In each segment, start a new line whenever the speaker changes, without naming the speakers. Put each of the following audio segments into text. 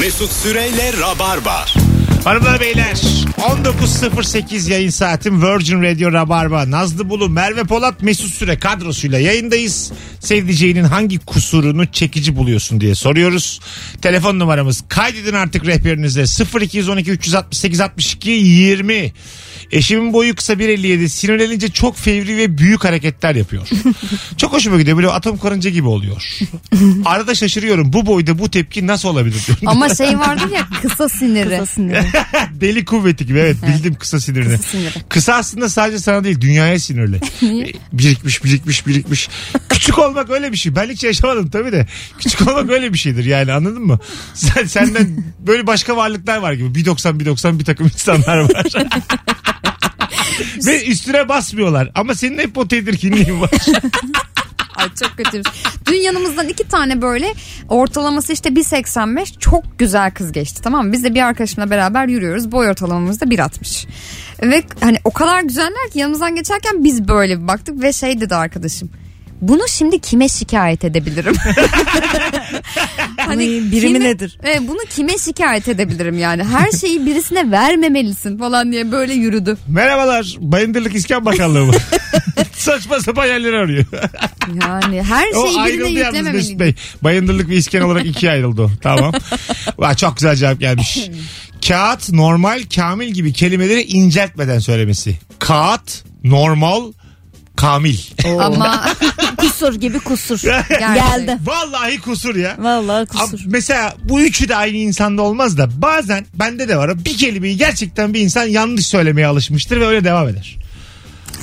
Mesut Süreyle Rabarba.
Hanımlar beyler 19.08 yayın saatim Virgin Radio Rabarba Nazlı Bulu Merve Polat Mesut Süre kadrosuyla yayındayız. Sevdiceğinin hangi kusurunu çekici buluyorsun diye soruyoruz. Telefon numaramız kaydedin artık rehberinize 0212 368 62 20. Eşimin boyu kısa 1.57 sinirlenince çok fevri ve büyük hareketler yapıyor. çok hoşuma gidiyor böyle atom karınca gibi oluyor. Arada şaşırıyorum bu boyda bu tepki nasıl olabilir diyor.
Ama şey vardı ya kısa siniri.
Kısa siniri.
Deli kuvveti gibi evet bildim kısa sinirini.
Kısa siniri.
Kısa aslında sadece sana değil dünyaya sinirli. birikmiş birikmiş birikmiş. Küçük olmak öyle bir şey. Ben hiç yaşamadım tabii de. Küçük olmak öyle bir şeydir yani anladın mı? Sen, senden böyle başka varlıklar var gibi. 1.90 1.90 bir takım insanlar var. Ve üstüne basmıyorlar. Ama senin hep o tedirginliğin var.
Ay çok kötüymüş. Dün yanımızdan iki tane böyle ortalaması işte 1.85 çok güzel kız geçti tamam mı? Biz de bir arkadaşımla beraber yürüyoruz. Boy ortalamamız da 1.60. Ve hani o kadar güzeller ki yanımızdan geçerken biz böyle bir baktık ve şey dedi arkadaşım. Bunu şimdi kime şikayet edebilirim? hani
Ay, birimi nedir?
Evet, bunu kime şikayet edebilirim yani? Her şeyi birisine vermemelisin falan diye böyle yürüdü.
Merhabalar. Bayındırlık İskan Bakanlığı mı? Saçma sapan yerleri arıyor.
Yani her
Şey,
O
şeyi birine
ayrıldı yalnız Mesut
yüklememelisin.
Bey. Bayındırlık ve isken olarak ikiye ayrıldı o. Tamam. Vay, çok güzel cevap gelmiş. Kağıt, normal, kamil gibi kelimeleri inceltmeden söylemesi. Kağıt, normal, kamil.
Ama
kusur gibi kusur.
Geldi.
Geldi.
Vallahi kusur ya.
Vallahi
Ab-
kusur.
Mesela bu üçü de aynı insanda olmaz da bazen bende de var. o Bir kelimeyi gerçekten bir insan yanlış söylemeye alışmıştır ve öyle devam eder.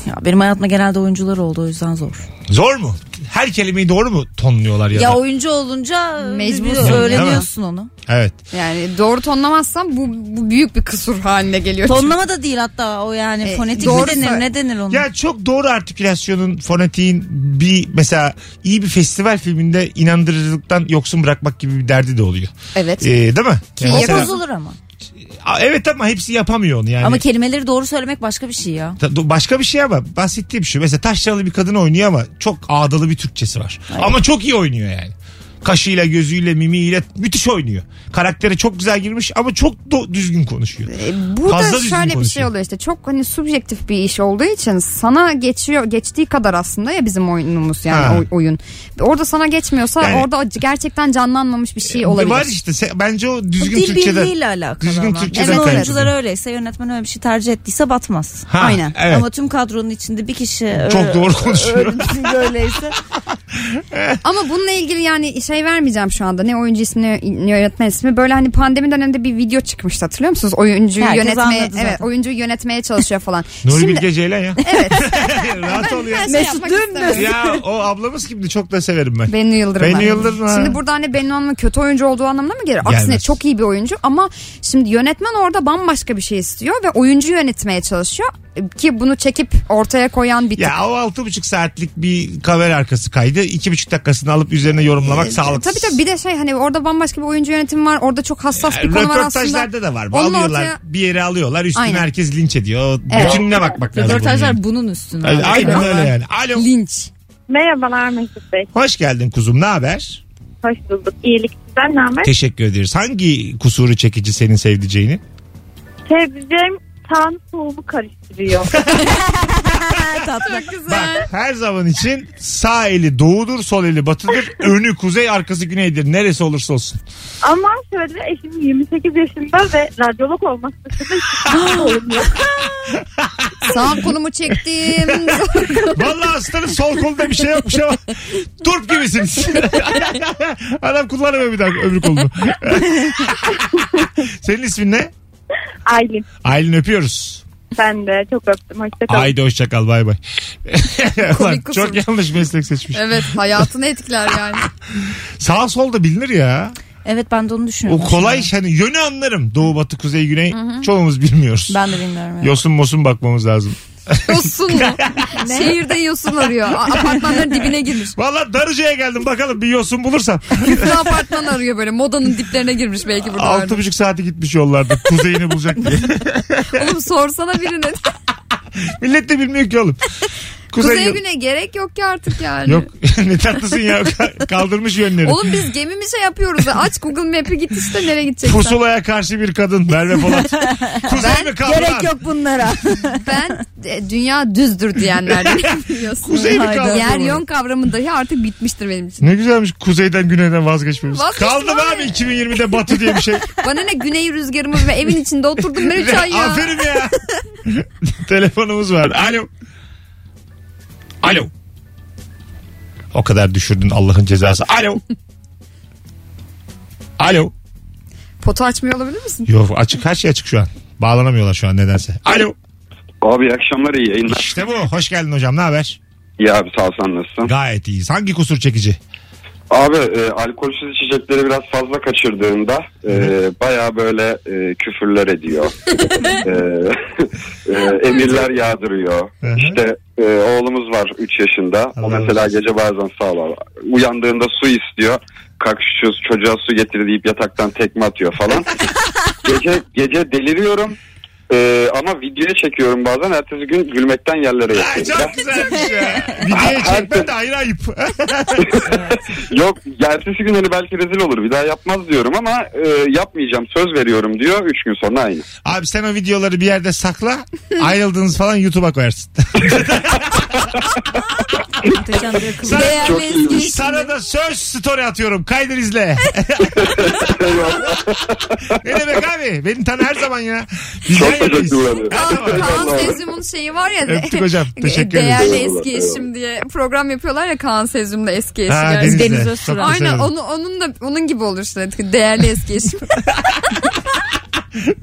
Ya benim hayatımda genelde oyuncular oldu o yüzden zor.
Zor mu? Her kelimeyi doğru mu tonluyorlar ya,
Ya,
da?
oyuncu olunca
Mecbursun.
mecbur öğreniyorsun onu.
Evet.
Yani doğru tonlamazsan bu, bu büyük bir kusur haline geliyor.
Tonlama da değil hatta o yani
E,
fonetik
doğru
mi denir
söyle-
ne denir ona?
Ya çok doğru artikülasyonun, fonetiğin bir mesela iyi bir festival filminde inandırıcılıktan yoksun bırakmak gibi bir derdi de oluyor.
Evet.
Ee, değil mi? Yani
o
mesela-
bozulur ama.
Aa, evet ama hepsi yapamıyor onu yani.
Ama kelimeleri doğru söylemek başka bir şey ya.
Ta- do- Başka bir şey ama bahsettiğim şu. Mesela taşralı bir kadın oynuyor ama çok ağdalı bir Türkçesi var. Ama çok iyi oynuyor yani. Kaşıyla, gözüyle, mimiyle müthiş oynuyor. Karaktere çok güzel girmiş ama çok do- düzgün konuşuyor.
Ee,
E, Burada
Fazla düzgün
şöyle bir şey
konuşuyor.
oluyor işte çok hani subjektif bir iş olduğu için sana geçiyor geçtiği kadar aslında ya bizim oyunumuz yani
Ha.
oy- oyun. Orada sana geçmiyorsa
Yani- E,
orada gerçekten canlanmamış bir şey
Var
olabilir.
işte se- bence o
O
düzgün
dil
Türkçeden.
birliğiyle alakalı
düzgün
ama.
Türkçeden
Bizim
kaynaklı.
oyuncular öyleyse yönetmen öyle bir şey tercih ettiyse batmaz.
Ha,
Aynen.
evet.
Ama tüm kadronun içinde bir kişi
Çok
ö-
doğru konuşuyor.
öğrencisi böyleyse.
Ama bununla ilgili yani şey vermeyeceğim şu anda ne oyuncu ismi ne yönetmen ismi böyle hani pandemi döneminde bir video çıkmıştı hatırlıyor musunuz? Oyuncuyu
Herkes
yönetmeye
anladı zaten.
evet oyuncuyu yönetmeye çalışıyor falan.
Nuri Bilge Ceylan ya.
evet.
Rahat ol ya.
Ben şey
Mesut
yapmak
Dönmez.
istemiyorum.
ya o ablamız kimdi çok da severim ben.
Bennu Yıldırım.
Bennu
var.
Yıldırım, ha.
Şimdi burada hani Bennu Hanım'ın kötü oyuncu olduğu anlamına mı gelir? Aksine
Gelmez.
çok iyi bir oyuncu ama şimdi yönetmen orada bambaşka bir şey istiyor ve oyuncu yönetmeye çalışıyor E, ki bunu çekip ortaya koyan bir
Ya o altı buçuk saatlik bir kamera arkası kaydı. iki buçuk dakikasını alıp üzerine yorumlamak sağlıksız.
Ee, Tabii tabii bir de şey hani orada bambaşka bir oyuncu yönetimi var. Orada çok hassas bir konu var aslında.
Röportajlarda da var.
Onun
Bağlıyorlar
ortaya-
bir yere alıyorlar üstüne
Aynen.
herkes linç ediyor.
Evet.
Bütününe bakmak lazım.
Röportajlar bunun üstüne.
bunun yani. Aynen öyle yani. Alo.
Linç.
Merhabalar Mesut Bey.
Hoş geldin kuzum ne haber?
Hoş bulduk. İyilik sizden ne haber?
Teşekkür ederiz. Hangi kusuru çekici senin sevdiceğini?
Sevdiceğim tan soğuğu karıştırıyor.
Tatlı.
Bak her zaman için sağ eli doğudur sol eli batıdır. Önü kuzey arkası güneydir. Neresi olursa olsun.
Ama şöyle eşim 28 yaşında ve radyolog olması dışında hiçbir şey olmuyor.
Sağ kolumu çektim.
Vallahi hastanın sol kolunda bir şey yokmuş ama turp gibisiniz. Adam kullanamıyor bir daha öbür kolunu. Senin ismin ne?
Aylin
Aylin öpüyoruz.
ben de çok öptüm. Hoşçakalın.
Haydi hoşçakal bay bay. Ulan,
kusurmuş.
çok yanlış meslek seçmiş.
evet hayatını etkiler yani.
Sağ sol da bilinir ya.
Evet ben de onu
O
düşünüyorum.
kolay iş. Hani yönü anlarım. Doğu, batı, kuzey, güney. Çoğumuz bilmiyoruz.
Ben de bilmiyorum. evet.
Yosun mosun bakmamız lazım.
Yosun mu? Şehirde yosun arıyor. A- Apartmanların dibine girmiş.
Valla Darıca'ya geldim bakalım bir yosun bulursam.
Küflü apartman arıyor böyle. Modanın diplerine girmiş belki burada.
Altı buçuk saati gitmiş yollarda. Kuzeyini bulacak diye.
Oğlum sorsana birine.
Millet de bilmiyor ki oğlum. Kuzey,
Kuzey güne gerek yok ki artık yani.
Yok ne tatlısın ya Ka- kaldırmış yönleri.
Oğlum biz gemimi şey yapıyoruz. ya. Aç Google Map'i git işte nereye gideceksen.
Pusulaya karşı bir kadın Merve Polat. Kuzey mi kaldı lan?
Gerek yok bunlara.
Ben e, dünya düzdür diyenlerden biliyorsun.
Kuzey mi kaldı?
Yer yön kavramı dahi artık bitmiştir benim için.
Ne güzelmiş kuzeyden güneyden vazgeçmemiz.
Vazgeçtim
Kaldı mı abi
abi.
2020'de batı diye bir şey.
Bana ne güney rüzgarımız ve evin içinde oturdum ben 3 ay ya.
Aferin ya. Telefonumuz var. Alo. Alo. O kadar düşürdün Allah'ın cezası. Alo. Alo.
Potu açmıyor olabilir misin?
Yok açık her şey açık şu an. Bağlanamıyorlar şu an nedense. Alo.
Abi iyi akşamlar iyi yayınlar.
İşte bu. Hoş geldin hocam. Ne haber?
İyi abi sağ ol sen nasılsın?
Gayet iyiyiz. Hangi kusur çekici?
Abi e, alkolsüz içecekleri biraz fazla kaçırdığında e, baya böyle e, küfürler ediyor. E, e, emirler yağdırıyor.
Hı hı.
İşte e, oğlumuz var 3 yaşında.
Allah
o mesela gece bazen sağ ol abi. Uyandığında su istiyor. Kalk şu çocuğa su getir deyip yataktan tekme atıyor falan. gece gece deliriyorum. E, ama videoya çekiyorum bazen. Ertesi gün gülmekten yerlere
Ay,
yatıyorum.
çok güzelmiş ya.
şey.
Videoya çekmen de ayrı ayıp.
Yok ertesi gün hani belki rezil olur bir daha yapmaz diyorum ama e, yapmayacağım söz veriyorum diyor 3 gün sonra aynı.
Abi sen o videoları bir yerde sakla. Ayrıldığınız falan YouTube'a koyarsın.
Muhteşem bir akıl.
Sana-
Değerli
Çok iyiymiş.
eski
Sana da söz story atıyorum. Kaydır izle. ne demek abi? Beni tanı her zaman ya. Biz
Çok
yan yanayız.
teşekkür ederim.
Her zaman.
Kaan Sezyum'un şeyi var ya.
Öptük hocam. Teşekkür ederiz.
Değerli
Eyvallah,
eski
eyvallah.
eşim diye program yapıyorlar ya Kaan Sezyum'da eski eşi.
Ha,
gerçekten.
Deniz
Çok
Özturan.
teşekkür
Aynen
ederim.
onu, onun da onun gibi olur işte. Değerli eski eşim.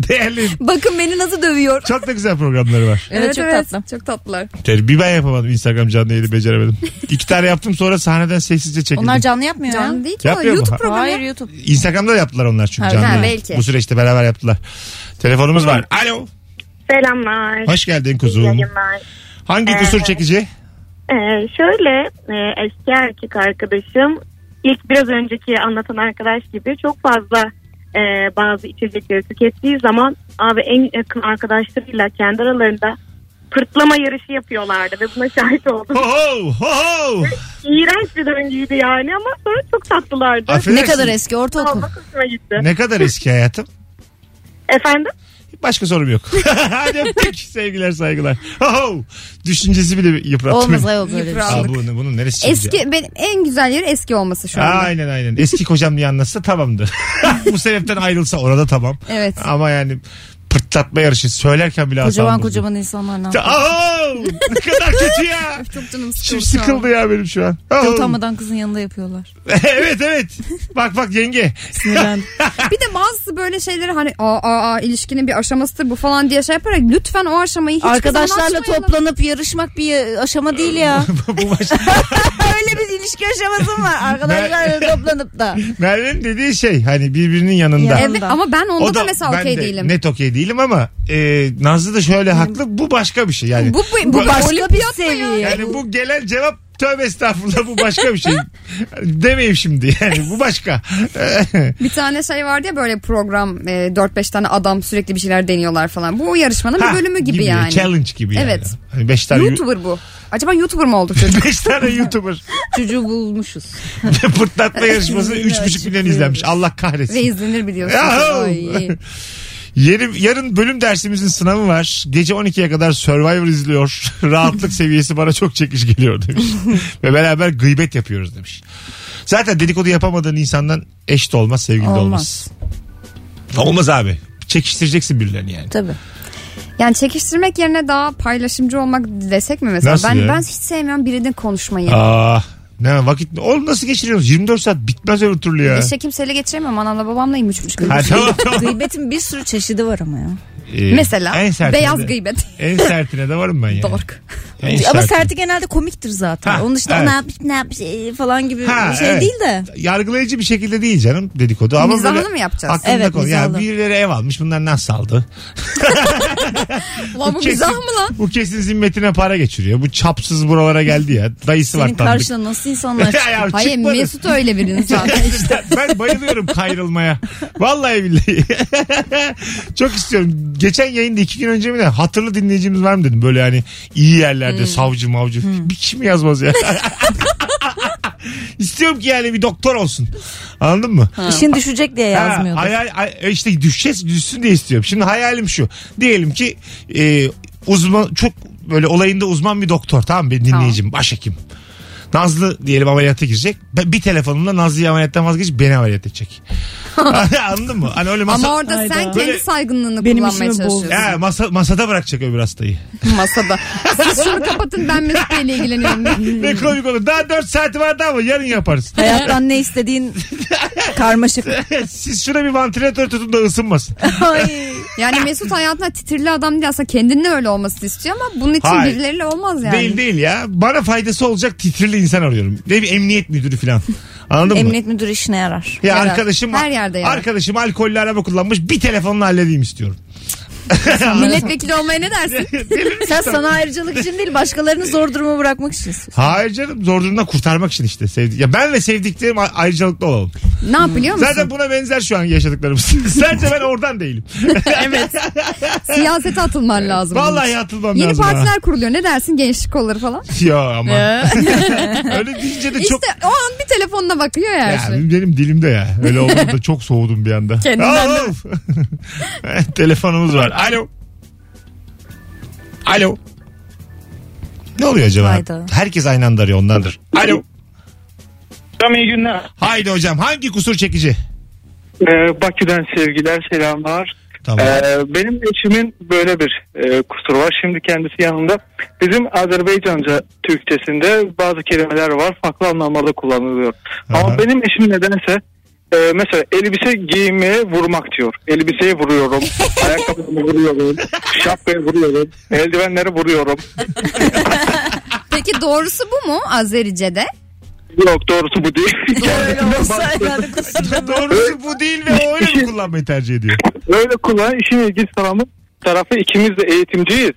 Değerli.
Bakın beni nasıl dövüyor.
Çok da güzel programları var.
Evet, çok tatlı.
Çok tatlılar.
Ter- Bir ben yapamadım Instagram canlı yayını beceremedim. İki tane yaptım sonra sahneden sessizce çekildim.
Onlar canlı yapmıyor
Canlı
ya.
değil ki o.
Yapıyor mu?
YouTube programı.
Hayır
Hayır.
YouTube.
Instagram'da da yaptılar onlar çünkü
Ha,
canlı.
ha,
yayını.
belki.
Bu süreçte beraber yaptılar. Telefonumuz var. Alo.
Selamlar.
Hoş geldin kuzum.
Yayınlar.
Hangi kusur çekici?
Ee, şöyle e, eski erkek arkadaşım ilk biraz önceki anlatan arkadaş gibi çok fazla e, bazı içecekleri tükettiği zaman abi en yakın arkadaşlarıyla kendi aralarında pırtlama yarışı yapıyorlardı ve buna şahit oldum.
Ho ho ho ho.
İğrenç bir döngüydü yani ama sonra çok tatlılardı.
Ne
Affedersin.
kadar eski ortaokul.
Olmak hoşuma gitti.
Ne kadar eski hayatım?
Efendim?
Başka sorum yok. Hadi öptük. Sevgiler saygılar. Ho-ho. Düşüncesi bile yıprattı.
Olmaz
beni.
ayol böyle bir şey.
Aa, bu, bunun neresi çekici?
Eski benim en güzel yeri eski olması şu anda.
Aynen aynen. Eski kocam diye anlatsa tamamdı. Bu sebepten ayrılsa orada tamam.
Evet.
Ama yani pırtlatma yarışı söylerken bile
Kocaman
asabım bozuldu.
kocaman insanlar ne yapıyor?
Aho! Ne kadar kötü ya.
Çok canım
Şimdi
sıkıldı. şu an.
sıkıldı ya benim şu an. Aho!
Utanmadan kızın yanında yapıyorlar.
evet evet. Bak bak yenge.
Sinirlendim.
Bir de bazı böyle şeyleri hani aa, aa, aa, ilişkinin bir aşamasıdır bu falan diye şey yaparak lütfen o aşamayı hiç
Arkadaşlarla
kızdan açmayalım.
toplanıp yarışmak bir aşama değil ya.
Bu baş...
Öyle bir ilişki aşaması mı var? Arkadaşlarla toplanıp da.
Merve'nin dediği şey hani birbirinin yanında.
Ya,
Evet ama ben onda da, mesela
ben
okey
de
değilim.
Net okey değilim ama e, Nazlı da şöyle haklı. Bu başka bir şey yani.
Bu, bu, bu
başka bir
ya.
seviye.
Yani bu gelen cevap tövbe estağfurullah bu başka bir şey. Demeyeyim şimdi yani bu başka.
Bir tane şey vardı ya böyle program e, 4-5 tane adam sürekli bir şeyler deniyorlar falan. Bu o yarışmanın
Ha,
bir bölümü gibi, yani.
Challenge gibi yani.
Evet.
Hani beş tane YouTuber.
YouTuber bu. Acaba YouTuber mı olduk çocuk?
Beş tane YouTuber.
Çocuğu bulmuşuz.
Pırtlatma yarışması üç buçuk milyon izlenmiş. Allah
Ve
kahretsin.
izlenir biliyorsun.
Yahu!
Ay.
Yarın, yarın bölüm dersimizin sınavı var. Gece 12'ye kadar Survivor izliyor. Rahatlık seviyesi bana çok çekiş geliyor demiş. Ve beraber gıybet yapıyoruz demiş. Zaten dedikodu yapamadığın insandan eş de olmaz, sevgili de olmaz.
Olmaz.
Olmaz abi. Çekiştireceksin birilerini yani.
Tabii.
Yani çekiştirmek yerine daha paylaşımcı olmak desek mi mesela?
Nasıl
ben
ya?
ben hiç sevmiyorum birinin konuşmayı.
Aa, Ah, ne vakit oğlum nasıl geçiriyorsunuz? 24 saat bitmez öbür türlü ya.
İşte kimseyle geçiremem. Anamla babamlayım üç buçuk yıl.
Ha, tamam, tamam.
Gıybetin bir sürü çeşidi var ama ya.
Ee,
Mesela
en sertine
beyaz
de-
gıybet.
En sertine de varım ben yani.
Dork.
En
ama
sertine.
serti genelde komiktir zaten.
Ha,
Onun dışında
evet.
o ne yapmış ne yapmış ee, falan gibi
Ha,
bir şey
evet.
değil de.
Yargılayıcı bir şekilde değil canım dedikodu. Ama
Mizahlı
böyle
mı yapacağız?
aklında
Evet,
konu. Yani
mizahlı.
birileri ev almış bunlar nasıl aldı?
Ulan bu
Kesin-
mizah mı lan?
Bu kesin zimmetine para geçiriyor. Bu çapsız buralara geldi ya. Dayısı var
Senin
tanıdık.
karşına nasıl insanlar
Ya,
çıkıyor?
ya,
Hayır
çıkmadı.
Mesut öyle bir insan.
İşte ben bayılıyorum kayrılmaya. Vallahi billahi. Çok istiyorum. Geçen yayında iki gün önce mi ne? Hatırlı dinleyicimiz var mı dedim. Böyle hani iyi yerler yerlerde
Hmm.
savcı mavcı. Bir kişi mi yazmaz ya? İstiyorum ki yani bir doktor olsun. Anladın mı?
İşin düşecek diye
Ha,
yazmıyordu.
hayal, ay- işte düşeceğiz düşsün diye istiyorum. Şimdi hayalim şu. Diyelim ki e, uzman çok böyle olayında uzman bir doktor tamam mı? Benim dinleyicim başhekim. Nazlı diyelim ameliyata girecek. Ben- Bir telefonumla Nazlı'yı ameliyattan vazgeçip beni ameliyat edecek. Anladın mı? Hani öyle masa...
Ama orada
Hayda.
sen
Böyle-
kendi saygınlığını
Benim
kullanmaya
işimi bozdun.
çalışıyorsun.
He, masa, masada bırakacak öbür hastayı.
Masada. Siz şunu kapatın ben Mesut Bey'le ilgileniyorum.
ne komik olur. Daha 4 saati var daha mı? Yarın yaparız.
Hayattan ne istediğin karmaşık.
Siz şuna bir vantilatör tutun da ısınmasın.
Ay.
Yani Mesut hayatında titrili adam değil aslında kendinde öyle olmasını istiyor ama bunun için
Hayır.
birileriyle olmaz yani.
Değil değil ya. Bana faydası olacak titrili insan arıyorum. Ne bir emniyet müdürü falan. Anladın mı?
Emniyet müdürü işine yarar.
Ya
Yarar.
arkadaşım
Her yerde yarar.
arkadaşım alkollü araba kullanmış. Bir telefonla halledeyim istiyorum.
Milletvekili olmaya ne dersin?
Sen sana ayrıcalık için değil başkalarını zor duruma bırakmak için.
Hayır canım zor durumdan kurtarmak için işte. Sevdi ya ben ve sevdiklerim a- ayrıcalıklı olalım.
ne yapılıyor musun?
Zaten buna benzer şu an yaşadıklarımız. Sadece ben oradan değilim.
evet.
Siyasete atılman lazım. bunun için.
Vallahi atılmam
Yeni
lazım. ha.
partiler kuruluyor. Ne dersin gençlik kolları falan?
Yo ama. Öyle deyince de çok...
İşte o an bir telefonla bakıyor ya her
Ya
şey.
benim dilimde ya. Öyle oldu da çok soğudum bir anda.
Kendinden de.
Of! Telefonumuz var. Alo. Alo. Ne oluyor acaba?
Hayda.
Herkes aynı anda arıyor ondandır. Alo.
Tam iyi günler.
Haydi hocam hangi kusur çekici?
Ee, Bakü'den sevgiler, selamlar.
Tamam.
Ee, benim eşimin böyle bir e, kusuru var. Şimdi kendisi yanında. Bizim Azerbaycanca Türkçesinde bazı kelimeler var. Farklı anlamlarda kullanılıyor.
Aha.
Ama benim eşim nedense e, mesela elbise giymeye vurmak diyor. Elbiseye vuruyorum. ayakkabımı vuruyorum. Şapkaya vuruyorum. Eldivenlere vuruyorum.
Peki doğrusu bu mu Azerice'de?
Yok doğrusu bu değil.
Öyle olsa herhalde kusur.
Doğrusu bu değil ve o öyle mi kullanmayı tercih ediyor?
Böyle kullanan işin ilginç tarafı, tarafı ikimiz de eğitimciyiz.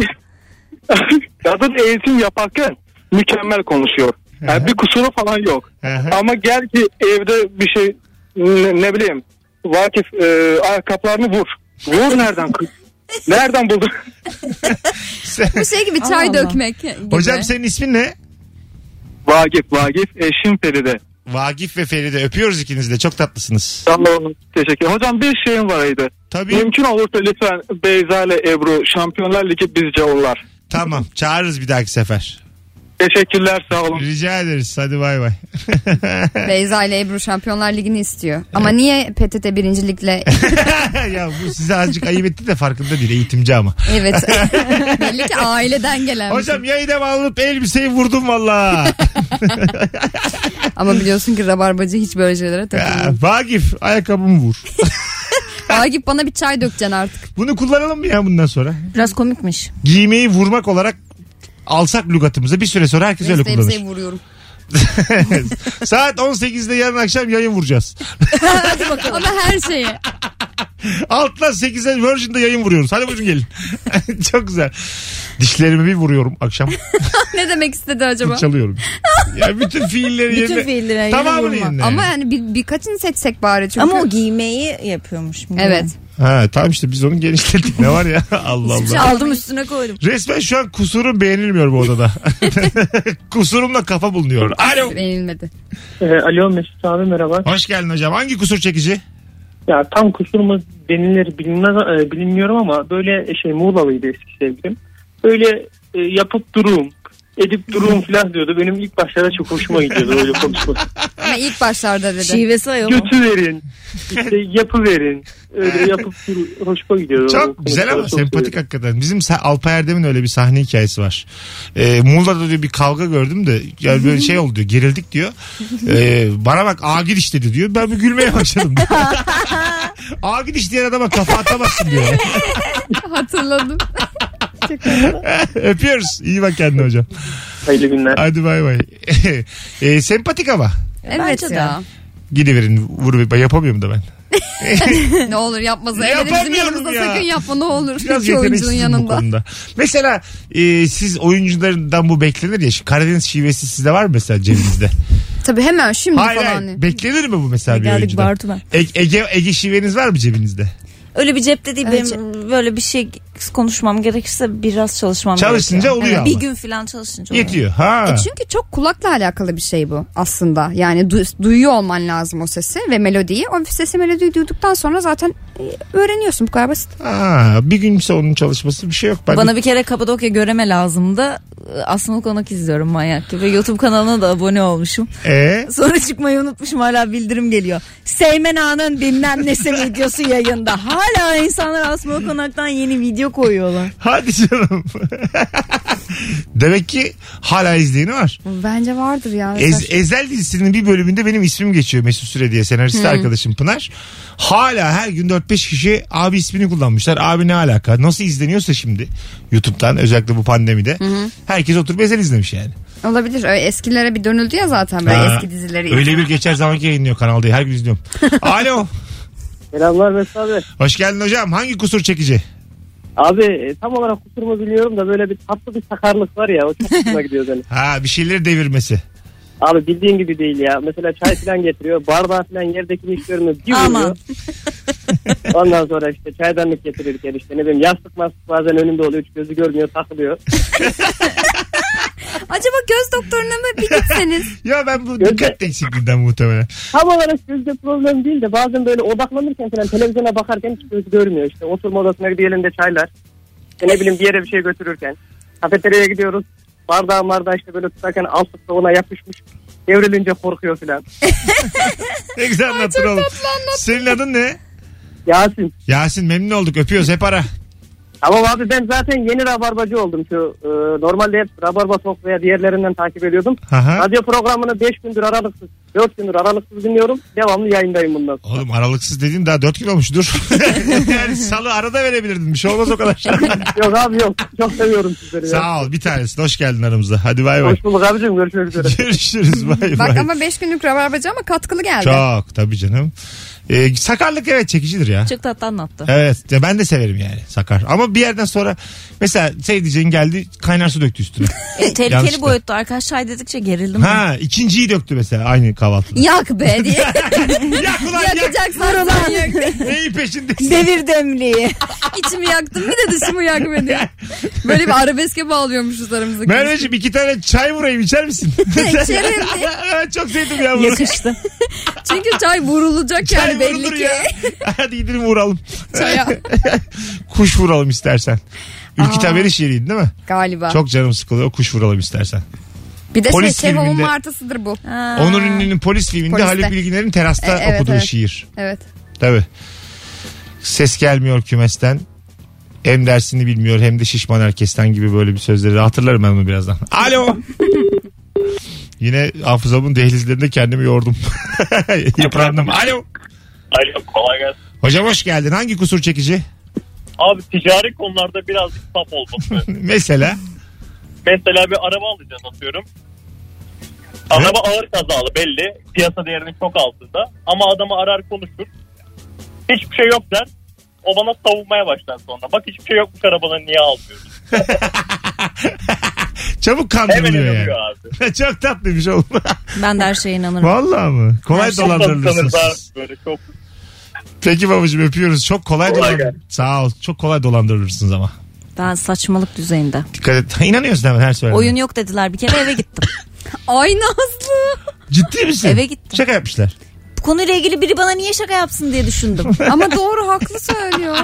Eğitim- Kadın eğitim yaparken mükemmel konuşuyor. Yani bir kusuru falan yok.
Aha.
Ama gel ki evde bir şey ne, ne bileyim Vakif e, ayakkabılarını vur. Vur nereden? kız? nereden buldun?
Bu şey gibi
Allah
çay
Allah.
dökmek gibi.
Hocam senin ismin ne?
Vagif Vagif eşim Feride.
Vagif ve Feride öpüyoruz ikinizi de çok tatlısınız.
Sağ olun. Teşekkür Hocam bir şeyim vardı.
Tabii
Mümkün olursa lütfen Beyza ile Ebru Şampiyonlar Ligi bizce onlar.
tamam çağırırız bir dahaki sefer.
Teşekkürler sağ olun.
Rica ederiz hadi bay bay.
Beyza ile Ebru Şampiyonlar Ligi'ni istiyor. Ama niye PTT birincilikle?
ya bu size azıcık ayıp etti de farkında değil eğitimci ama.
evet. Belli ki aileden gelen. bir şey.
Hocam yayı devam alıp elbiseyi vurdum valla.
Ama biliyorsun ki rabarbacı hiç böyle şeylere takılmıyor.
Vagif ayakkabımı vur.
Agip bana bir çay dökeceksin artık.
Bunu kullanalım mı ya bundan sonra?
Biraz komikmiş.
Giymeyi vurmak olarak alsak lügatımıza bir süre sonra herkes öyle
Mesut
kullanır.
Ebze'yi vuruyorum.
Saat 18'de yarın akşam yayın vuracağız.
Ama her şeye.
Altla 8'e Virgin'de yayın vuruyoruz. Hadi buyurun gelin. Çok güzel. Dişlerimi bir vuruyorum akşam.
Ne demek istedi acaba?
Çalıyorum. ya bütün fiilleri
Bütün
yerine.
fiilleri yerine
Tamamını
vurmak.
yerine.
Ama yani bir, birkaçını seçsek bari çünkü.
Ama o giymeyi yapıyormuş.
Evet.
Ha, tamam işte biz onu genişlettik. Ne var ya? Allah Allah.
Şey aldım üstüne koydum.
Resmen şu an kusurum beğenilmiyor bu odada. Kusurumla kafa bulunuyor. Alo.
Beğenilmedi.
Ee, Alo Mesut abi merhaba.
Hoş geldin hocam. Hangi kusur çekici?
Ya tam kusur mu denilir bilinmez, e, bilinmiyorum ama böyle şey Muğla'lıydı eski sevgilim. Böyle e, yapıp durum, edip durum falan diyordu. Benim ilk başlarda çok hoşuma gidiyordu öyle konuşması.
Ah.
Ama ilk başlarda dedi.
Şey, Şivesi ayol. o.
Götü verin, işte yapı verin. Öyle yapıp durum hoşuma gidiyordu. O
Çok
konuşmaları
güzel ama
çok
sempatik
seviyordum.
hakikaten. Bizim Sa- Alpay Erdem'in öyle bir sahne hikayesi var. Ee, Muğla'da diyor bir kavga gördüm de yani böyle şey oldu diyor gerildik diyor. Ee, bana bak agil işledi diyor. Ben bir gülmeye başladım. agil işleyen adama kafa atamazsın diyor.
Hatırladım.
Öpüyoruz. İyi bak kendine hocam.
Hayırlı günler.
Hadi bay bay. Ee, sempatik ama.
evet
Bence de.
ya.
Gidiverin vur yapamıyorum da ben.
ne olur yapmasın. Evde bizim
Yapamıyorum
yanımızda
ya.
sakın yapma ne olur.
Biraz
Biraz oyuncunun
yeteneksizim bu
yanında.
konuda. Mesela e, siz oyunculardan bu beklenir ya. Şu Karadeniz şivesi sizde var mı mesela cebinizde?
Tabii hemen şimdi
hayır
falan.
hayır. Beklenir mi bu mesela bir
Geldik
oyuncudan?
Bartu ben.
E- Ege, Ege şiveniz var mı cebinizde?
Öyle bir cepte değil
Öyle
benim böyle bir şey konuşmam gerekirse biraz çalışmam
Çalışınca
gerekiyor.
oluyor ama.
Bir gün falan çalışınca oluyor.
Yetiyor. Ha.
Çünkü çok kulakla alakalı bir şey bu aslında. Yani du- duyuyor olman lazım o sesi ve melodiyi. O sesi melodiyi duyduktan sonra zaten e, öğreniyorsun bu kadar basit.
Ha, bir günse onun çalışması bir şey yok. Ben
Bana bir kere Kapadokya göreme lazımdı. Aslında Konak izliyorum manyak gibi. YouTube kanalına da abone olmuşum.
Ee?
Sonra çıkmayı unutmuşum hala bildirim geliyor. Seymen Ağa'nın bilmem nesi videosu yayında. Hala insanlar Asma Konak'tan yeni video koyuyorlar.
Hadi canım. Demek ki hala izleyeni var.
Bence vardır ya.
Ez- Ezel dizisinin bir bölümünde benim ismim geçiyor Mesut Süre diye senarist
Hmm.
arkadaşım Pınar. Hala her gün 4-5 kişi abi ismini kullanmışlar. Abi ne alaka? Nasıl izleniyorsa şimdi YouTube'dan özellikle bu pandemide. Herkes oturup Ezel izlemiş yani.
Olabilir. Ö- Eskilere bir dönüldü ya zaten ben
Ha,
eski dizileri.
Öyle bir geçer zamanki yayınlıyor kanalda. Her gün izliyorum. Alo.
Selamlar Mesut abi.
Hoş geldin hocam. Hangi kusur çekici?
Abi e, tam olarak kusurumu biliyorum da böyle bir tatlı bir sakarlık var ya o çok hoşuma gidiyor benim.
Ha bir şeyleri devirmesi.
Abi bildiğin gibi değil ya. Mesela çay falan getiriyor. Bardağı falan yerdekini hiç görmüyor. Bir vuruyor.
Aman.
Ondan sonra işte çaydanlık getirirken işte ne bileyim yastık mastık bazen önünde oluyor. Hiç gözü görmüyor takılıyor.
Acaba göz doktoruna mı bir gitseniz?
Ya ben bu
Gözde-
dikkat eksikliğinden muhtemelen.
Tam olarak gözde problem değil de bazen böyle odaklanırken falan televizyona bakarken hiç gözü görmüyor. İşte oturma odasına gidiyor elinde çaylar. İşte ne bileyim bir yere bir şey götürürken. Kafeteryaya gidiyoruz. Bardağı mardağı işte böyle tutarken alt da ona yapışmış. Devrilince korkuyor falan.
Ne güzel anlattın oğlum. Senin adın ne?
Yasin.
Yasin memnun olduk öpüyoruz hep ara.
Ama abi ben zaten yeni rabarbacı oldum. Şu e, normalde hep rabarba Talk veya diğerlerinden takip ediyordum.
Aha.
Radyo programını 5 gündür aralıksız, 4 gündür aralıksız dinliyorum. Devamlı yayındayım bundan. sonra.
Oğlum aralıksız dediğin daha 4 kilo olmuş dur. yani salı arada verebilirdin bir şey olmaz o kadar.
yok abi yok. Çok seviyorum sizleri. ya.
Sağ ol bir tanesi hoş geldin aramıza hadi bay bay.
Hoş bulduk abicim. Görüşmek üzere.
Görüşürüz bay
Bak
bay.
ama 5 günlük rabarbacı ama katkılı geldi.
Çok tabii canım. Ee, sakarlık evet çekicidir ya.
Çok tatlı anlattı.
Evet ya ben de severim yani sakar. Ama bir yerden sonra mesela sevdiceğin geldi kaynar su döktü üstüne.
E, tehlikeli
Yanlışlıkla.
boyutta arkadaş çay dedikçe gerildim. ben.
ha ikinciyi döktü mesela aynı kahvaltıda.
Yak be diye.
yak ulan yak.
Yakacaksan sen yak.
Neyin peşindesin?
Devir demliği.
İçimi yaktım bir de dışımı yakma diye. Böyle bir arabeske bağlıyormuşuz aramızdaki.
Merveciğim iki tane çay vurayım içer misin?
İçerim diye.
Ben Çok sevdim ya bunu.
Yakıştı.
Çünkü çay vurulacak
Çay
yani belli
vurulur
ki.
ya. Hadi gidelim vuralım.
Çaya.
kuş vuralım istersen. Ülkü
Aa.
Tamer iş yeriydi değil mi?
Galiba.
Çok canım sıkılıyor. Kuş vuralım istersen.
bir de şey,
polis
Şehov'un
filminde-
martısıdır bu.
Ha.
Onur Ünlü'nün polis filminde
Poliste.
Haluk Bilginer'in terasta
E, evet,
okuduğu
evet.
şiir.
Evet.
Tabii. Ses gelmiyor kümesten. Hem dersini bilmiyor hem de şişman herkesten gibi böyle bir sözleri hatırlarım ben bunu birazdan. Alo. Yine hafızamın dehlizlerinde kendimi yordum. Yıprandım. Alo.
Alo kolay gelsin.
Hocam hoş geldin. Hangi kusur çekici?
Abi ticari konularda birazcık saf olması.
Mesela.
Mesela bir araba alacaksın atıyorum. Araba ağır kazalı belli. Piyasa değerinin çok altında. Ama adamı arar konuşur. Hiçbir şey yok der. O bana savunmaya başlar sonra. Bak hiçbir şey yokmuş arabanın niye almıyoruz?
Çabuk
Hemen
kandırılıyor yani.
inanıyor abi.
Çok tatlıymış oğlum.
Ben de her şeye inanırım.
Vallahi mı? Kolay
Çok tanıtanırlar,
dolandırılırsınız.
Böyle çok
Peki babacığım öpüyoruz. Çok kolay,
Kolay
dolan-
gelsin.
Sağ ol. Çok kolay dolandırılırsınız ama.
Ben saçmalık düzeyinde.
Dikkat et. İnanıyorsun hemen her söylediğine.
Oyun yok dediler bir kere eve gittim.
Ay Nazlı.
Ciddi misin?
Eve gittim.
Şaka yapmışlar.
Bu konuyla ilgili biri bana niye şaka yapsın diye düşündüm.
Ama doğru haklı söylüyor.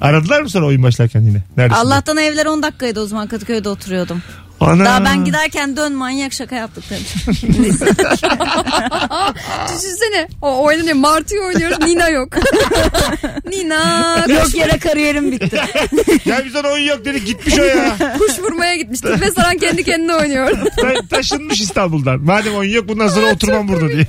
Aradılar mı sonra oyun başlarken yine? Neredesin?
Allah'tan evler 10 dakikaydı o zaman Kadıköy'de oturuyordum.
Ana.
Daha ben giderken dön manyak şaka yaptık demiş.
Düşünsene. O oynanıyor. Martı'yı oynuyoruz. Nina yok. Nina.
Yok yere kariyerim bitti.
Ya biz ona oyun yok dedik gitmiş o ya.
Kuş vurmaya gitmiştik ve Saran kendi kendine oynuyor.
Ta- taşınmış İstanbul'dan. Madem oyun yok bundan sonra oturmam burada diye.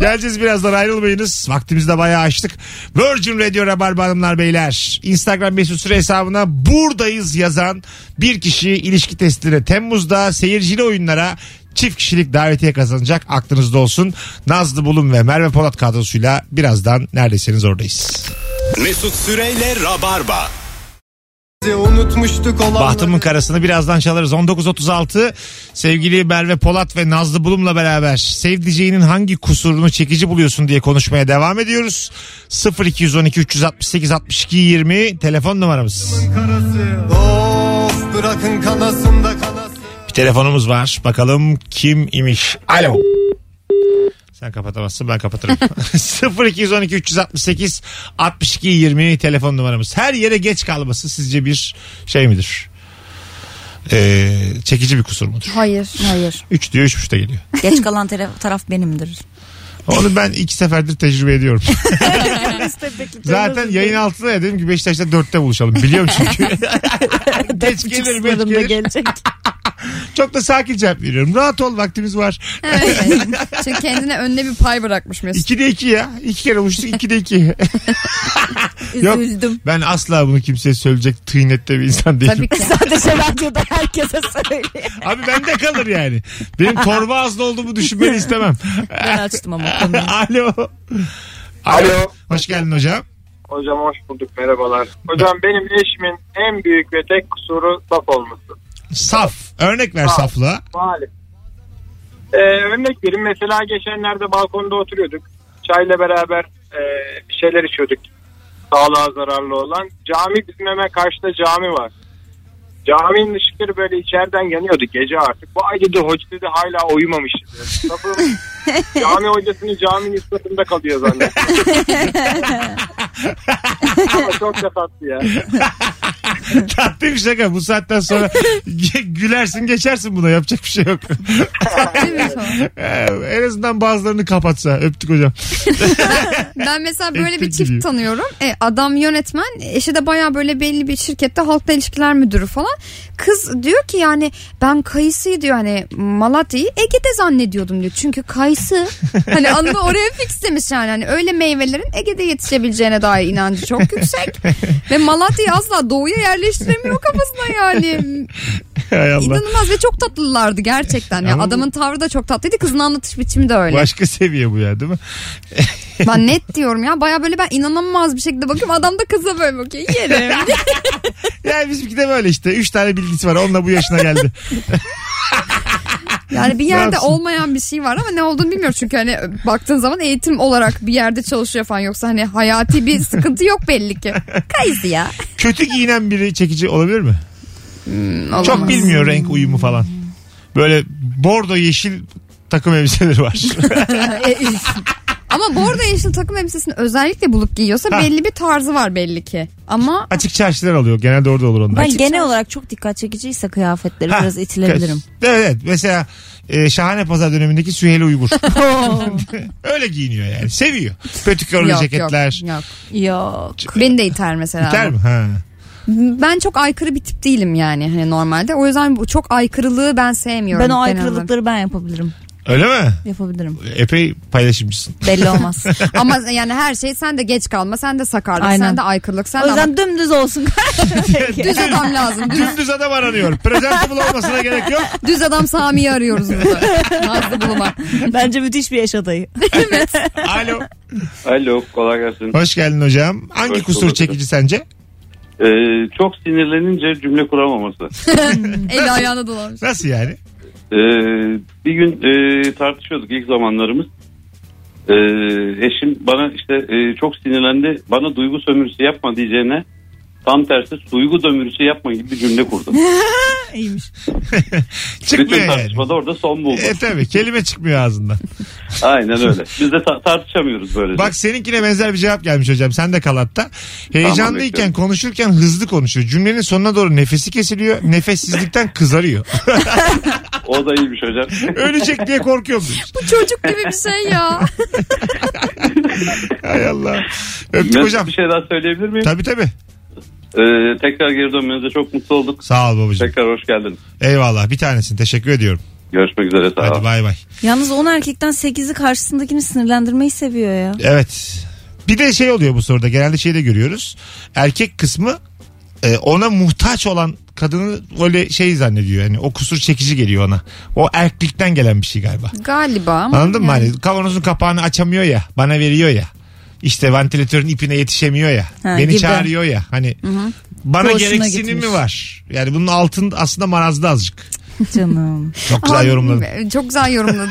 Geleceğiz birazdan ayrılmayınız. Vaktimizi de bayağı açtık. Virgin Radio Rabarba Hanımlar Beyler. Instagram mesut süre hesabına buradayız yazan bir kişi ilişki testine Temmuz'da seyircili oyunlara çift kişilik davetiye kazanacak. Aklınızda olsun. Nazlı Bulun ve Merve Polat kadrosuyla birazdan neredesiniz oradayız.
Mesut Süreyle Rabarba.
Unutmuştuk olanları.
Bahtımın karasını birazdan çalarız. 19.36 sevgili Merve Polat ve Nazlı Bulum'la beraber sevdiceğinin hangi kusurunu çekici buluyorsun diye konuşmaya devam ediyoruz. 0212 368 62 20 telefon numaramız.
karası. Of bırakın kanasında kanası.
Bir telefonumuz var. Bakalım kim imiş? Alo. Sen kapatamazsın ben kapatırım. 0212 368 62 20 telefon numaramız. Her yere geç kalması sizce bir şey midir? Ee, çekici bir kusur mudur?
Hayır.
Hayır.
3 diyor 3.5'te geliyor.
Geç kalan tara- taraf benimdir.
Onu ben iki seferdir tecrübe ediyorum. Zaten yayın altında ya dedim ki Beşiktaş'ta 4'te buluşalım. Biliyorum çünkü. geç gelir geç
Sınırımda
gelir.
gelecek.
Çok da sakin cevap veriyorum. Rahat ol vaktimiz var.
Evet. Çünkü kendine önüne bir pay bırakmış Mesut.
2'de 2 ya. 2 kere buluştuk 2'de 2. Yok.
Üzüldüm.
Ben asla bunu kimseye söyleyecek tıynette bir insan değilim.
Tabii ki.
Sadece radyoda herkese söyleyeyim.
Abi bende kalır yani. Benim torba ağızlı olduğumu düşünmeni istemem.
Ben açtım ama konuyu.
Alo.
Alo.
Hoş geldin hocam.
Hocam hoş bulduk merhabalar. Hocam benim eşimin en büyük ve tek kusuru saf olması.
Saf. Örnek ver
Saf.
saflığa.
Maalesef. Ee, örnek vereyim mesela geçenlerde balkonda oturuyorduk. Çayla beraber e, bir şeyler içiyorduk. Sağlığa zararlı olan. Cami bizim hemen karşıda cami var. Caminin ışıkları böyle içeriden yanıyordu gece artık. Vay dedi hoca dedi hala uyumamış dedi. Sapım, cami hocasını caminin üstünde kalıyor zannettim. Ama çok da tatlı ya.
Tatlı bir şaka. Bu saatten sonra ge- gülersin geçersin buna. Yapacak bir şey yok.
Değil mi Mesut?
Ee, en azından bazılarını kapatsa. Öptük hocam.
Ben mesela böyle bir
Ettik gibi.
çift tanıyorum. E, adam yönetmen, eşi de baya böyle belli bir şirkette halkla ilişkiler müdürü falan. Kız diyor ki yani ben kayısı diyor hani Malatya'yı Ege'de zannediyordum diyor. Çünkü kayısı hani anını oraya fixlemiş yani. Hani öyle meyvelerin Ege'de yetişebileceğine dair inancı çok yüksek. Ve Malatya'yı asla doğuya yerleştiremiyor kafasına yani.
Hay Allah.
İnanılmaz ve çok tatlılardı gerçekten. Ya.
Ama bu-
Adamın tavrı da çok tatlıydı. Kızın anlatış biçimi de öyle.
Başka seviye bu ya değil mi?
Ben net diyorum ya. Baya böyle ben inanılmaz bir şekilde bakıyorum. Adam da kıza böyle bakıyor. Yerim.
Yani bizimki de böyle işte. Üç tane bilgisi var. Onunla bu yaşına geldi.
Yani bir yerde
yapsın?
olmayan bir şey var ama ne olduğunu bilmiyorum. Çünkü hani baktığın zaman eğitim olarak bir yerde çalışıyor falan. Yoksa hani hayati bir sıkıntı yok belli ki. Kayısı ya.
Kötü giyinen biri çekici olabilir mi?
Olamaz.
Çok bilmiyor renk uyumu falan. Böyle bordo yeşil takım elbiseleri var.
E, üf. ama bu arada yeşil takım elbisesini özellikle bulup giyiyorsa
Ha.
belli bir tarzı var belli ki. Ama
Açık çarşılar alıyor. Genelde orada olur onlar.
Ben genel olarak çok dikkat çekiciyse kıyafetleri
Ha,
biraz itilebilirim.
Evet, evet. mesela e, şahane pazar dönemindeki Süheyli Uygur. Öyle giyiniyor yani. Seviyor. Pötikörlü
yok,
ceketler.
yok yok.
Yok.
Beni de iter mesela.
Biter mi? Ha.
Ben çok aykırı bir tip değilim yani hani normalde. O yüzden bu çok aykırılığı ben sevmiyorum.
Ben o
genel olarak.
aykırılıkları ben yapabilirim.
Öyle mi?
Yapabilirim.
Epey paylaşımcısın.
Belli olmaz.
Ama yani her şey sen de geç kalma, sen de sakarlık,
Aynen.
sen de aykırılık, sen
o
de ama
yüzden dümdüz olsun.
düz adam lazım. Düz,
Dümdüz adam aranıyor. Presentable olmasına gerek yok.
düz adam Sami'yi arıyoruz burada. Nazlı Buluma.
Bence müthiş bir eş adayı.
Alo.
Alo kolay gelsin.
Hoş geldin hocam. Hangi
Hoş
kusur
bulduk.
çekici sence?
Ee, çok sinirlenince cümle kuramaması.
Eli ayağına dolanmış.
Nasıl yani?
Ee, bir gün e, tartışıyorduk ilk zamanlarımız. Ee, eşim bana işte e, çok sinirlendi. Bana duygu sömürüsü yapma diyeceğine tam tersi duygu dömürüsü yapma gibi şey bir cümle kurdu.
İyiymiş.
Çıkmıyor
Bütün
yani.
tartışmada orada son buldu.
E tabi kelime çıkmıyor ağzından.
Aynen öyle. Biz de ta- tartışamıyoruz böyle.
Bak seninkine benzer bir cevap gelmiş hocam. Sen de kal hatta. Heyecanlıyken
bekliyorum.
konuşurken hızlı konuşuyor. Cümlenin sonuna doğru nefesi kesiliyor. Nefessizlikten kızarıyor.
O da iyiymiş hocam.
Ölecek diye korkuyorum. demiş.
Bu çocuk gibi bir şey ya.
Hay Allah. Öptük
Mesut
hocam.
bir şey daha söyleyebilir miyim?
Tabii tabii.
Ee, tekrar geri dönmenize çok mutlu olduk.
Sağ ol babacığım.
Tekrar hoş geldiniz.
Eyvallah. Bir tanesin. Teşekkür ediyorum.
Görüşmek üzere. Sağ
Hadi
olun.
bay bay.
Yalnız 10 erkekten 8'i karşısındakini sinirlendirmeyi seviyor ya.
Evet. Bir de şey oluyor bu soruda. Genelde şeyi de görüyoruz. Erkek kısmı e, ona muhtaç olan kadını öyle şey zannediyor. Yani o kusur çekici geliyor ona. O erklikten gelen bir şey galiba.
Galiba ama.
Anladın mı?
yani.
Hani kavanozun kapağını açamıyor ya. Bana veriyor ya. İşte ventilatörün ipine yetişemiyor ya.
Ha,
beni
gibi.
çağırıyor ya. Hani Bana
Hoşuna
gereksinimi
gitmiş.
var. Yani bunun altın aslında marazda azıcık.
Canım.
Çok güzel
Aa,
yorumladın.
Çok güzel yorumladın.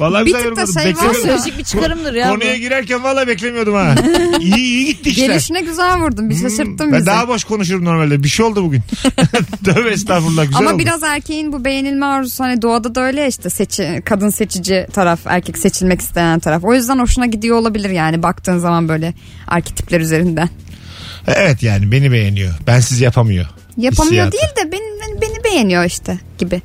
Vallahi
bir
güzel
tık da
yorumladın.
şey var.
Beklemiyordum.
Sosyolojik bir çıkarımdır ya. bu.
Konuya girerken valla beklemiyordum ha. İyi iyi gitti işler.
Gelişine güzel vurdun. Bir şaşırttın
Hmm, ben
bizi.
daha boş konuşurum normalde. Bir şey oldu bugün. Tövbe estağfurullah güzel
Ama
oldu.
biraz erkeğin bu beğenilme arzusu hani doğada da öyle ya işte seçi, kadın seçici taraf erkek seçilmek isteyen taraf. O yüzden hoşuna gidiyor olabilir yani baktığın zaman böyle arketipler üzerinden.
Evet yani beni beğeniyor. Bensiz yapamıyor.
Yapamıyor
Hissiyatı.
değil de beni, beni, beni beğeniyor işte gibi.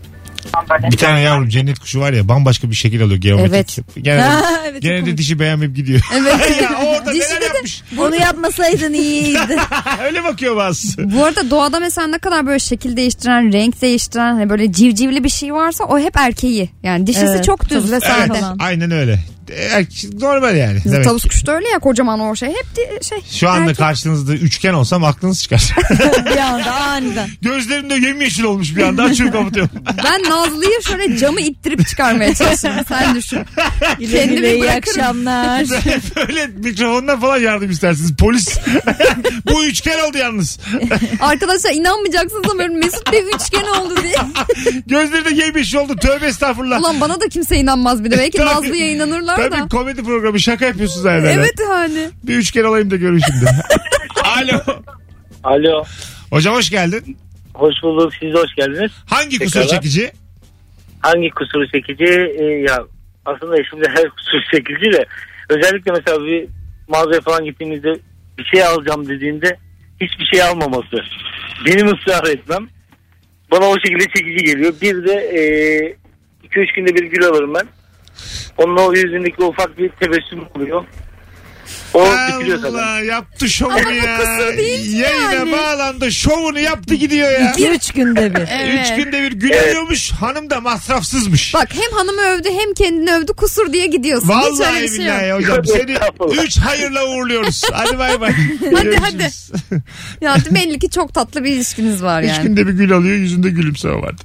Bir tane yavrum cennet kuşu var ya bambaşka bir şekil alıyor geometrik. Genelde,
Ha, evet,
genelde
çok komik.
dişi beğenmeyip gidiyor.
Evet.
ya orada
Dişi
neler
de-
yapmış.
Bunu yapmasaydın iyiydi.
Öyle bakıyor bazısı.
bu arada doğada mesela ne kadar böyle şekil değiştiren, renk değiştiren hani böyle civcivli bir şey varsa o hep erkeği. Yani dişisi
Evet,
çok düz ve
tavus
sade.
falan.
Aynen öyle. Er- Normal yani. Demek.
Tavus kuşu da öyle ya kocaman o şey. Hep di- şey.
Şu anda
erkek.
karşınızda üçgen olsam aklınız çıkar.
bir anda aniden.
Gözlerim de yemyeşil olmuş bir anda. Açıyorum kapatıyorum.
Ben Nazlı'yı şöyle camı ittirip çıkarmaya çalışıyorum. Sen düşün. Kendimi
Kendime iyi
bırakırım.
akşamlar.
Böyle mikrofondan falan yardım istersiniz. Polis. Bu üçgen oldu yalnız.
Arkadaşlar inanmayacaksınız ama böyle Mesut Bey üçgen oldu diye.
Gözleri de yemyeşil oldu. Tövbe estağfurullah.
Ulan bana da kimse inanmaz bir de. Belki
Tabii.
Nazlı'ya inanırlar da.
Tabii komedi programı şaka yapıyorsunuz herhalde.
Evet hani.
Bir üçgen olayım da görün şimdi. Alo.
Alo.
Hocam hoş geldin.
Hoş bulduk. Siz de hoş geldiniz.
Hangi kusur
Tekrarlar.
çekici?
Hangi kusuru çekici? Ee, ya aslında eşimde her kusur çekici de özellikle mesela bir mağazaya falan gittiğimizde bir şey alacağım dediğinde hiçbir şey almaması. Benim ısrar etmem. Bana o şekilde çekici geliyor. Bir de 2-3 günde bir gül alırım ben. Onun o yüzündeki ufak bir tebessüm oluyor. O bitiriyor zaten.
Allah yaptı şovunu ya.
kusur değil
Yayına
yani.
bağlandı şovunu yaptı gidiyor ya.
İki üç günde bir.
Üç günde bir gülüyormuş hanım da masrafsızmış.
Bak hem hanımı övdü hem kendini övdü kusur diye gidiyorsun. Hiç öyle
Vallahi
bir şey yok.
billahi hocam
Yok,
seni
estağfurullah.
üç hayırla uğurluyoruz. Hadi bay bay.
Hadi, hadi.
Görüşürüz.
Ya belli ki çok tatlı bir ilişkiniz var
Üç
yani.
günde bir gül alıyor yüzünde gülümseme vardı.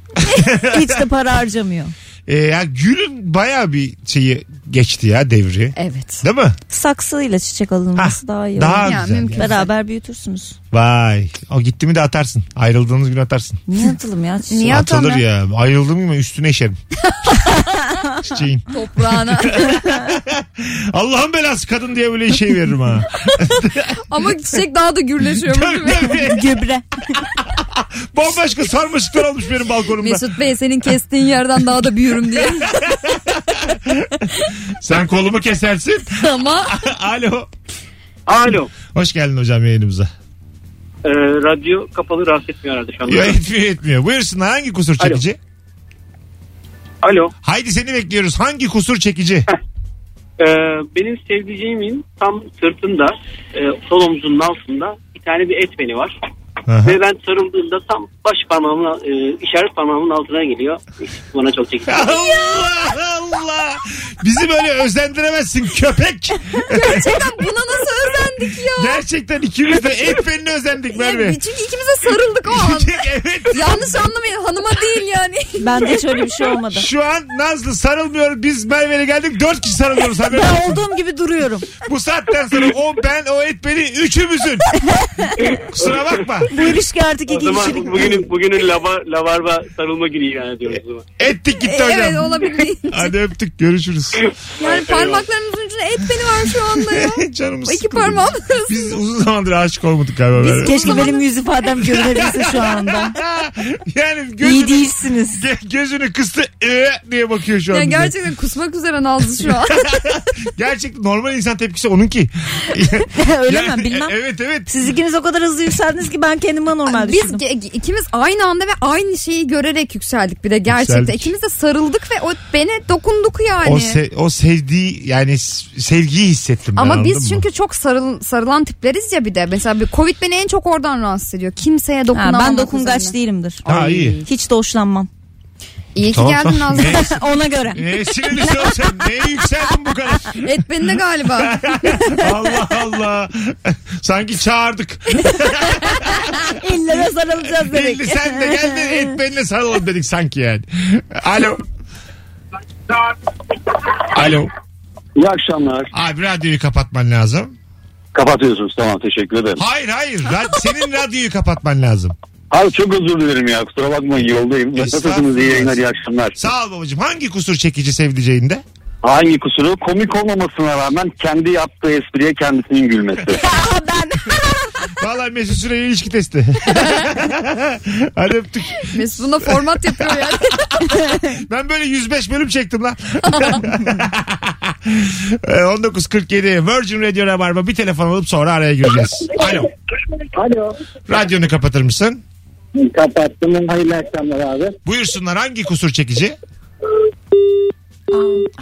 Hiç de para harcamıyor.
Ee, ya gülün bayağı bir şeyi geçti ya devri.
Evet.
Değil mi?
Saksıyla çiçek alınması daha iyi.
Daha
Ya,
güzel.
mümkün.
ya.
Beraber büyütürsünüz.
Vay. O gitti mi de atarsın. Ayrıldığınız gün atarsın.
Niye atalım ya? çiçeği?
Niye
Atılır
atamıyor?
ya. Ayrıldım mı üstüne işerim. Çiçeğin.
Toprağına.
Allah'ın belası kadın diye böyle şey veririm ha.
Ama çiçek daha da gürleşiyor. değil mi?
Tabii.
Gübre.
Bambaşka sarmaşıklar olmuş benim balkonumda.
Mesut Bey senin kestiğin yerden daha da büyürüm diye.
Sen kolumu kesersin.
Ama
Alo.
Alo.
Hoş geldin hocam yayınımıza.
Ee, radyo kapalı rahatsız etmiyor herhalde şu
Yo, etmiyor etmiyor. Buyursunlar hangi kusur
Alo.
çekici?
Alo.
Haydi seni bekliyoruz. Hangi kusur çekici?
Ee, benim sevdiceğimin tam sırtında e, sol omzunun altında bir tane bir et beni var.
Aha.
Ve ben sarıldığımda tam baş parmağımın e, işaret parmağımın altına geliyor. Bana çok çekici.
Allah Allah. Bizi böyle özendiremezsin köpek.
gerçekten buna nasıl özendik ya?
Gerçekten ikimiz de et benini özendik Merve.
Ya, çünkü ikimiz de sarıldık o an.
evet.
Yanlış anlamayın hanıma değil yani.
Bende hiç öyle bir şey olmadı.
Şu an Nazlı sarılmıyor. Biz Merve'yle geldik. Dört kişi sarılıyoruz. Haberin
Ben
olsun.
olduğum gibi duruyorum.
Bu saatten sonra o ben o et beni üçümüzün. Kusura bakma.
Bu ilişki artık
O
iki
zaman
kişilik.
bugünün, bugünün lava, lavarba sarılma günü ilan ediyoruz o zaman.
Ettik gitti hocam.
evet olabildiğince.
Hadi öptük görüşürüz.
Yani parmaklarımızın ucuna et beni var şu anda ya.
Canımız
O iki
sıkıldı.
parmağım
Biz uzun zamandır aşık olmadık galiba. Merve.
Keşke benim yüz ifadem görünebilse şu anda.
yani
İyi
gözünü,
değilsiniz.
ge- gözünü kıstı "Ee" diye bakıyor şu an.
Yani
bize.
gerçekten kusmak üzere Nazlı şu an.
Gerçekten normal insan tepkisi onunki.
öyle
Yani-
mi bilmem.
e- Evet evet.
Siz ikiniz o kadar hızlı yükseldiniz ki ben kendimi anormal
Biz
düşündüm.
ge- ikimiz aynı anda ve aynı şeyi görerek yükseldik bir de gerçekten.
Yükseldik.
İkimiz de sarıldık ve o beni dokunduk yani.
O, se- o sevdiği yani s- sevgiyi hissettim ben
Ama
anladın
biz çünkü
mı?
çok sarıl, sarılan tipleriz ya bir de. Mesela bir Covid beni en çok oradan rahatsız ediyor. Kimseye
Ha,
dokunamam.
ben dokungaç değilimdir.
Ha iyi.
Hiç de hoşlanmam.
İyi ki
Tamam,
geldin
tamam.
Nazlı.
Ona göre.
Neye sinirlisi ol sen? Neye yükseldin bu kadar?
et beni de galiba.
Allah Allah. Sanki çağırdık.
İllere sarılacağız demek.
Belli sen de gel de et benimle sarılalım dedik sanki yani. Alo. Alo.
İyi akşamlar.
Abi radyoyu kapatman lazım.
Kapatıyorsunuz tamam teşekkür ederim.
Hayır hayır. Ra- senin radyoyu kapatman lazım.
Abi çok özür dilerim ya kusura bakmayın yoldayım. Nasılsınız iyi yayınlar iyi akşamlar.
Sağ ol babacığım. Hangi kusur çekici sevdiceğinde?
Hangi kusuru? Komik olmamasına rağmen kendi yaptığı espriye kendisinin gülmesi.
Vallahi Mesut Süre'ye ilişki testi. Hadi öptük.
Mesut buna format yapıyor yani.
Ben böyle 105 bölüm çektim lan. Ee, 19.47 Virgin Radio Rabarba bir telefon alıp sonra araya gireceğiz. Alo.
Alo.
Radyonu kapatır mısın?
Kapattım. Hayırlı akşamlar abi.
Buyursunlar hangi kusur çekici?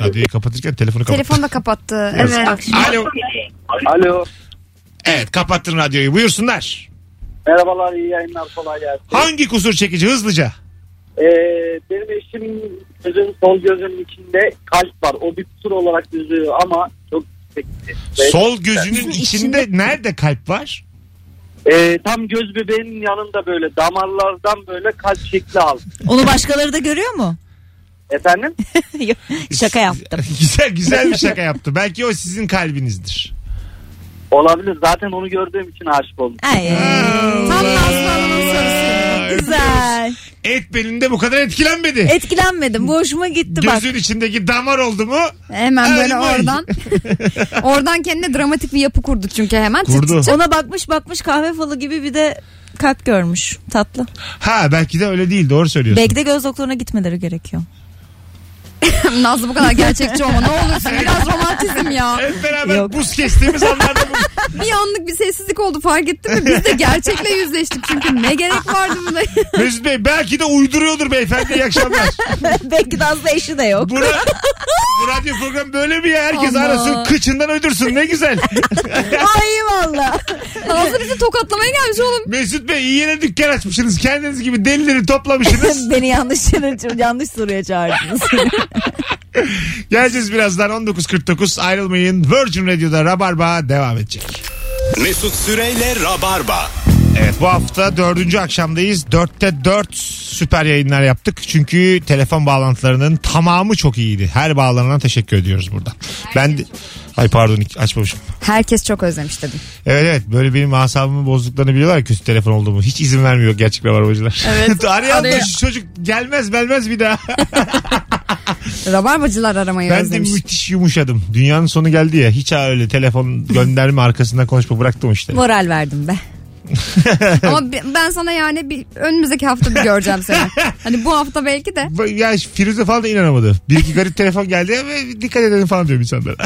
Radyoyu kapatırken telefonu kapat.
Telefonu da kapattı.
Biraz.
Evet.
Alo.
Alo.
Evet kapattın radyoyu buyursunlar.
Merhabalar iyi yayınlar kolay gelsin.
Hangi kusur çekici hızlıca?
Ee, benim eşim gözün sol gözünün içinde kalp var. O bir kusur olarak gözüyor ama çok yüksekti. Ve,
Sol gözünün
İçinde-
içinde nerede kalp var?
e, tam göz bebeğinin yanında böyle damarlardan böyle kalp şekli al.
Onu başkaları da görüyor mu?
Efendim?
Yok, Şaka yaptım.
güzel güzel bir şaka yaptı. Belki o sizin kalbinizdir.
Olabilir. Zaten onu gördüğüm için aşık oldum.
Ay,
Tam da aslanın sorusu.
güzel.
Et belinde bu kadar etkilenmedi.
Etkilenmedim. Bu hoşuma gitti bak.
Gözün içindeki damar oldu mu?
Hemen böyle
Ay, ay.
oradan. oradan kendine dramatik bir yapı kurdu çünkü hemen. Tık
Kurdu.
tık tık.
Ona bakmış bakmış kahve falı gibi bir de kalp görmüş. Tatlı.
Ha belki de öyle değil doğru söylüyorsun.
Belki de göz doktoruna gitmeleri gerekiyor.
Nazlı bu kadar gerçekçi ama ne olursun biraz romantizm ya.
Hep beraber
Yok.
buz kestiğimiz anlarda bu.
Bir anlık bir sessizlik oldu fark ettin mi? Biz de gerçekle yüzleştik çünkü ne gerek vardı buna?
Mesut Bey belki de uyduruyordur beyefendi iyi akşamlar.
Belki de aslında eşi de yok.
Bu, ra- bu radyo programı böyle mi ya? Herkes
Aman.
arasın kıçından uydursun ne güzel.
Ay valla.
Nazlı bizi tokatlamaya gelmiş oğlum.
Mesut Bey iyi yere dükkan açmışsınız. Kendiniz gibi delileri toplamışsınız.
Beni yanlış yere- yanlış soruya çağırdınız.
Geleceğiz birazdan 19.49 ayrılmayın. Virgin Radio'da Rabarba devam edecek.
Mesut Süreyle Rabarba.
Evet bu hafta dördüncü akşamdayız. Dörtte dört süper yayınlar yaptık. Çünkü telefon bağlantılarının tamamı çok iyiydi. Her bağlanana teşekkür ediyoruz burada. ben de... Ay pardon açmamışım.
Herkes çok özlemiş dedim.
Evet evet böyle benim asabımı bozduklarını biliyorlar ya, kötü telefon olduğumu. Hiç izin vermiyor gerçek rabarbacılar. Evet. Arayan da
arıyor.
şu çocuk gelmez gelmez bir daha.
Rabarbacılar aramayı
ben de
özlemiş.
müthiş yumuşadım. Dünyanın sonu geldi ya. Hiç öyle telefon gönderme arkasından konuşma bıraktım işte.
Moral verdim be.
Ama bi- ben sana yani bir önümüzdeki hafta bir göreceğim seni. Hani bu hafta belki de.
Ya Firuze falan da inanamadı. Bir iki garip telefon geldi ve dikkat edelim falan diyorum insanlara.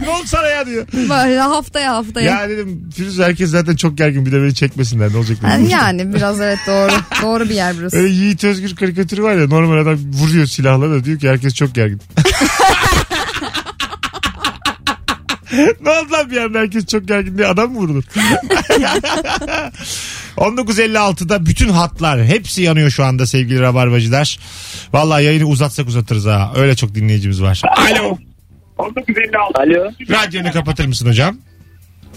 ne oldu sana ya diyor.
Böyle haftaya haftaya.
Ya dedim Firuze herkes zaten çok gergin bir de beni çekmesinler ne olacak dedim.
Yani, yani biraz evet doğru. doğru bir yer burası.
Öyle Yiğit Özgür karikatürü var ya normal adam vuruyor silahla da diyor ki herkes çok gergin. ne oldu lan bir anda herkes çok gergin diye adam mı vurulur? 19.56'da bütün hatlar hepsi yanıyor şu anda sevgili rabarbacılar. Vallahi yayını uzatsak uzatırız ha. Öyle çok dinleyicimiz var. Alo.
Alo.
Radyonu kapatır mısın hocam?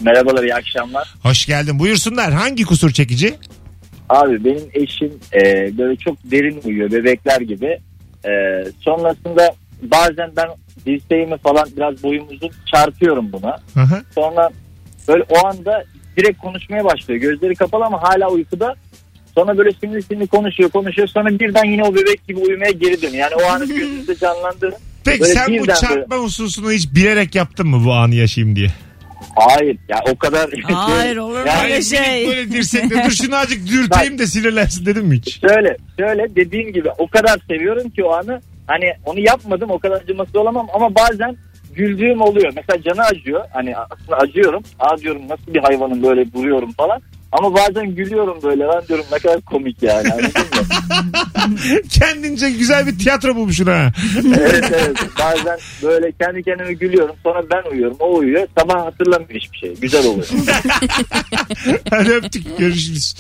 Merhabalar iyi akşamlar.
Hoş geldin. Buyursunlar. Hangi kusur çekici?
Abi benim eşim e, böyle çok derin uyuyor bebekler gibi. E, sonrasında bazen ben dirseğimi falan biraz boyum uzun çarpıyorum buna.
Aha.
Sonra böyle o anda direkt konuşmaya başlıyor. Gözleri kapalı ama hala uykuda. Sonra böyle sinirli sinirli konuşuyor konuşuyor. Sonra birden yine o bebek gibi uyumaya geri dönüyor. Yani o anı gözünüzde canlandırın.
Peki
Böyle
sen bu
birden
çarpma hususunu hiç bilerek yaptın mı bu anı yaşayayım diye?
Hayır ya o kadar.
Hayır olur mu
Yani
öyle
minik
şey?
Böyle dirsekle dur şunu azıcık dürteyim de sinirlensin dedim mi hiç?
Şöyle şöyle dediğim gibi o kadar seviyorum ki o anı hani onu yapmadım o kadar acımasız olamam ama bazen güldüğüm oluyor. Mesela canı acıyor hani aslında acıyorum aa diyorum nasıl bir hayvanım böyle vuruyorum falan ama bazen gülüyorum böyle lan diyorum ne kadar komik yani anladın mı?
Kendince güzel bir tiyatro bulmuşsun ha.
evet evet bazen böyle kendi kendime gülüyorum sonra ben uyuyorum o uyuyor sabah hatırlamıyor hiçbir şey güzel oluyor.
Hadi öptük görüşürüz.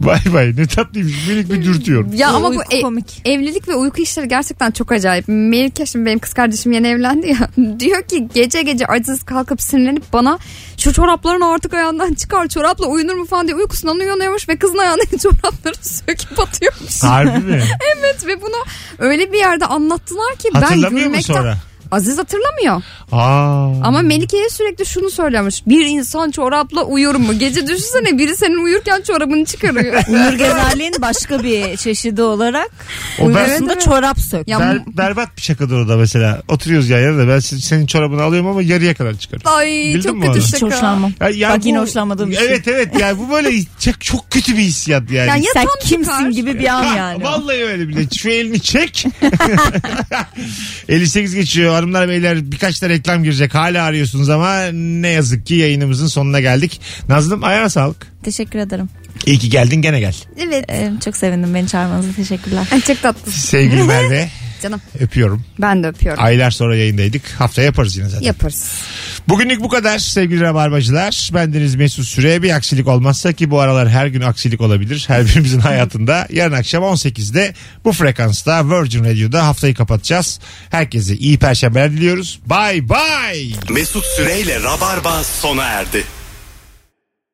Bay bay ne tatlıymış minik bir dürtüyorum.
Ya ama bu
Uyku
e-
komik.
evlilik ve uyku işleri gerçekten çok acayip. Melike şimdi benim kız kardeşim yeni evlendi ya. Diyor ki gece gece aciz kalkıp sinirlenip bana şu çoraplarını artık ayağından çıkar çorapla uyunur mu falan diye uykusundan uyanıyormuş ve kızın ayağındaki çorapları söküp atıyormuş.
Harbi mi?
Evet ve bunu öyle bir yerde anlattılar ki ben
Hatırlamıyor mu
gülmekten...
sonra? Hmm.
Aziz hatırlamıyor.
Aa.
Ama Melike'ye sürekli şunu söylemiş. Bir insan çorapla uyur mu? Gece düşünsene biri senin uyurken çorabını çıkarıyor.
Uyur gezerliğin başka bir çeşidi olarak
O ben-
uyursun da çorap sök.
ya
Ber- berbat bir şakadır o da mesela. Oturuyoruz yan yana da ben se- senin çorabını alıyorum ama yarıya kadar çıkarım.
ay
Bildin mi
çok
onu?
kötü
Hiç
şaka.
hoşlanmam.
Ya- ya
Bak yine
bu-
hoşlanmadığım bir şey.
Evet evet yani bu böyle çok, çok kötü bir hissiyat yani.
Yani ya
Sen
tam
kimsin
çıkar.
gibi bir an
Ha,
yani. o.
Vallahi öyle bile. Şu elini çek. 58 geçiyor. Hanımlar beyler birkaç da reklam girecek. Hala arıyorsunuz ama ne yazık ki yayınımızın sonuna geldik. Nazlım ayağına sağlık.
Teşekkür ederim.
İyi ki geldin gene gel.
Evet.
Ee, çok sevindim beni çağırmanıza teşekkürler.
Ay, çok tatlısın
Sevgili Merve
canım.
öpüyorum.
Ben de öpüyorum.
Aylar sonra yayındaydık. Haftaya yaparız yine zaten.
Yaparız.
Bugünlük bu kadar sevgili Rabarbacılar. Bendeniz Mesut Süre. Bir aksilik olmazsa ki bu aralar her gün aksilik olabilir. Her birimizin hayatında. Yarın akşam 18'de bu frekansta Virgin Radio'da haftayı kapatacağız. Herkese iyi perşembeler diliyoruz. Bye bye.
Mesut Süreyle Rabarba sona erdi.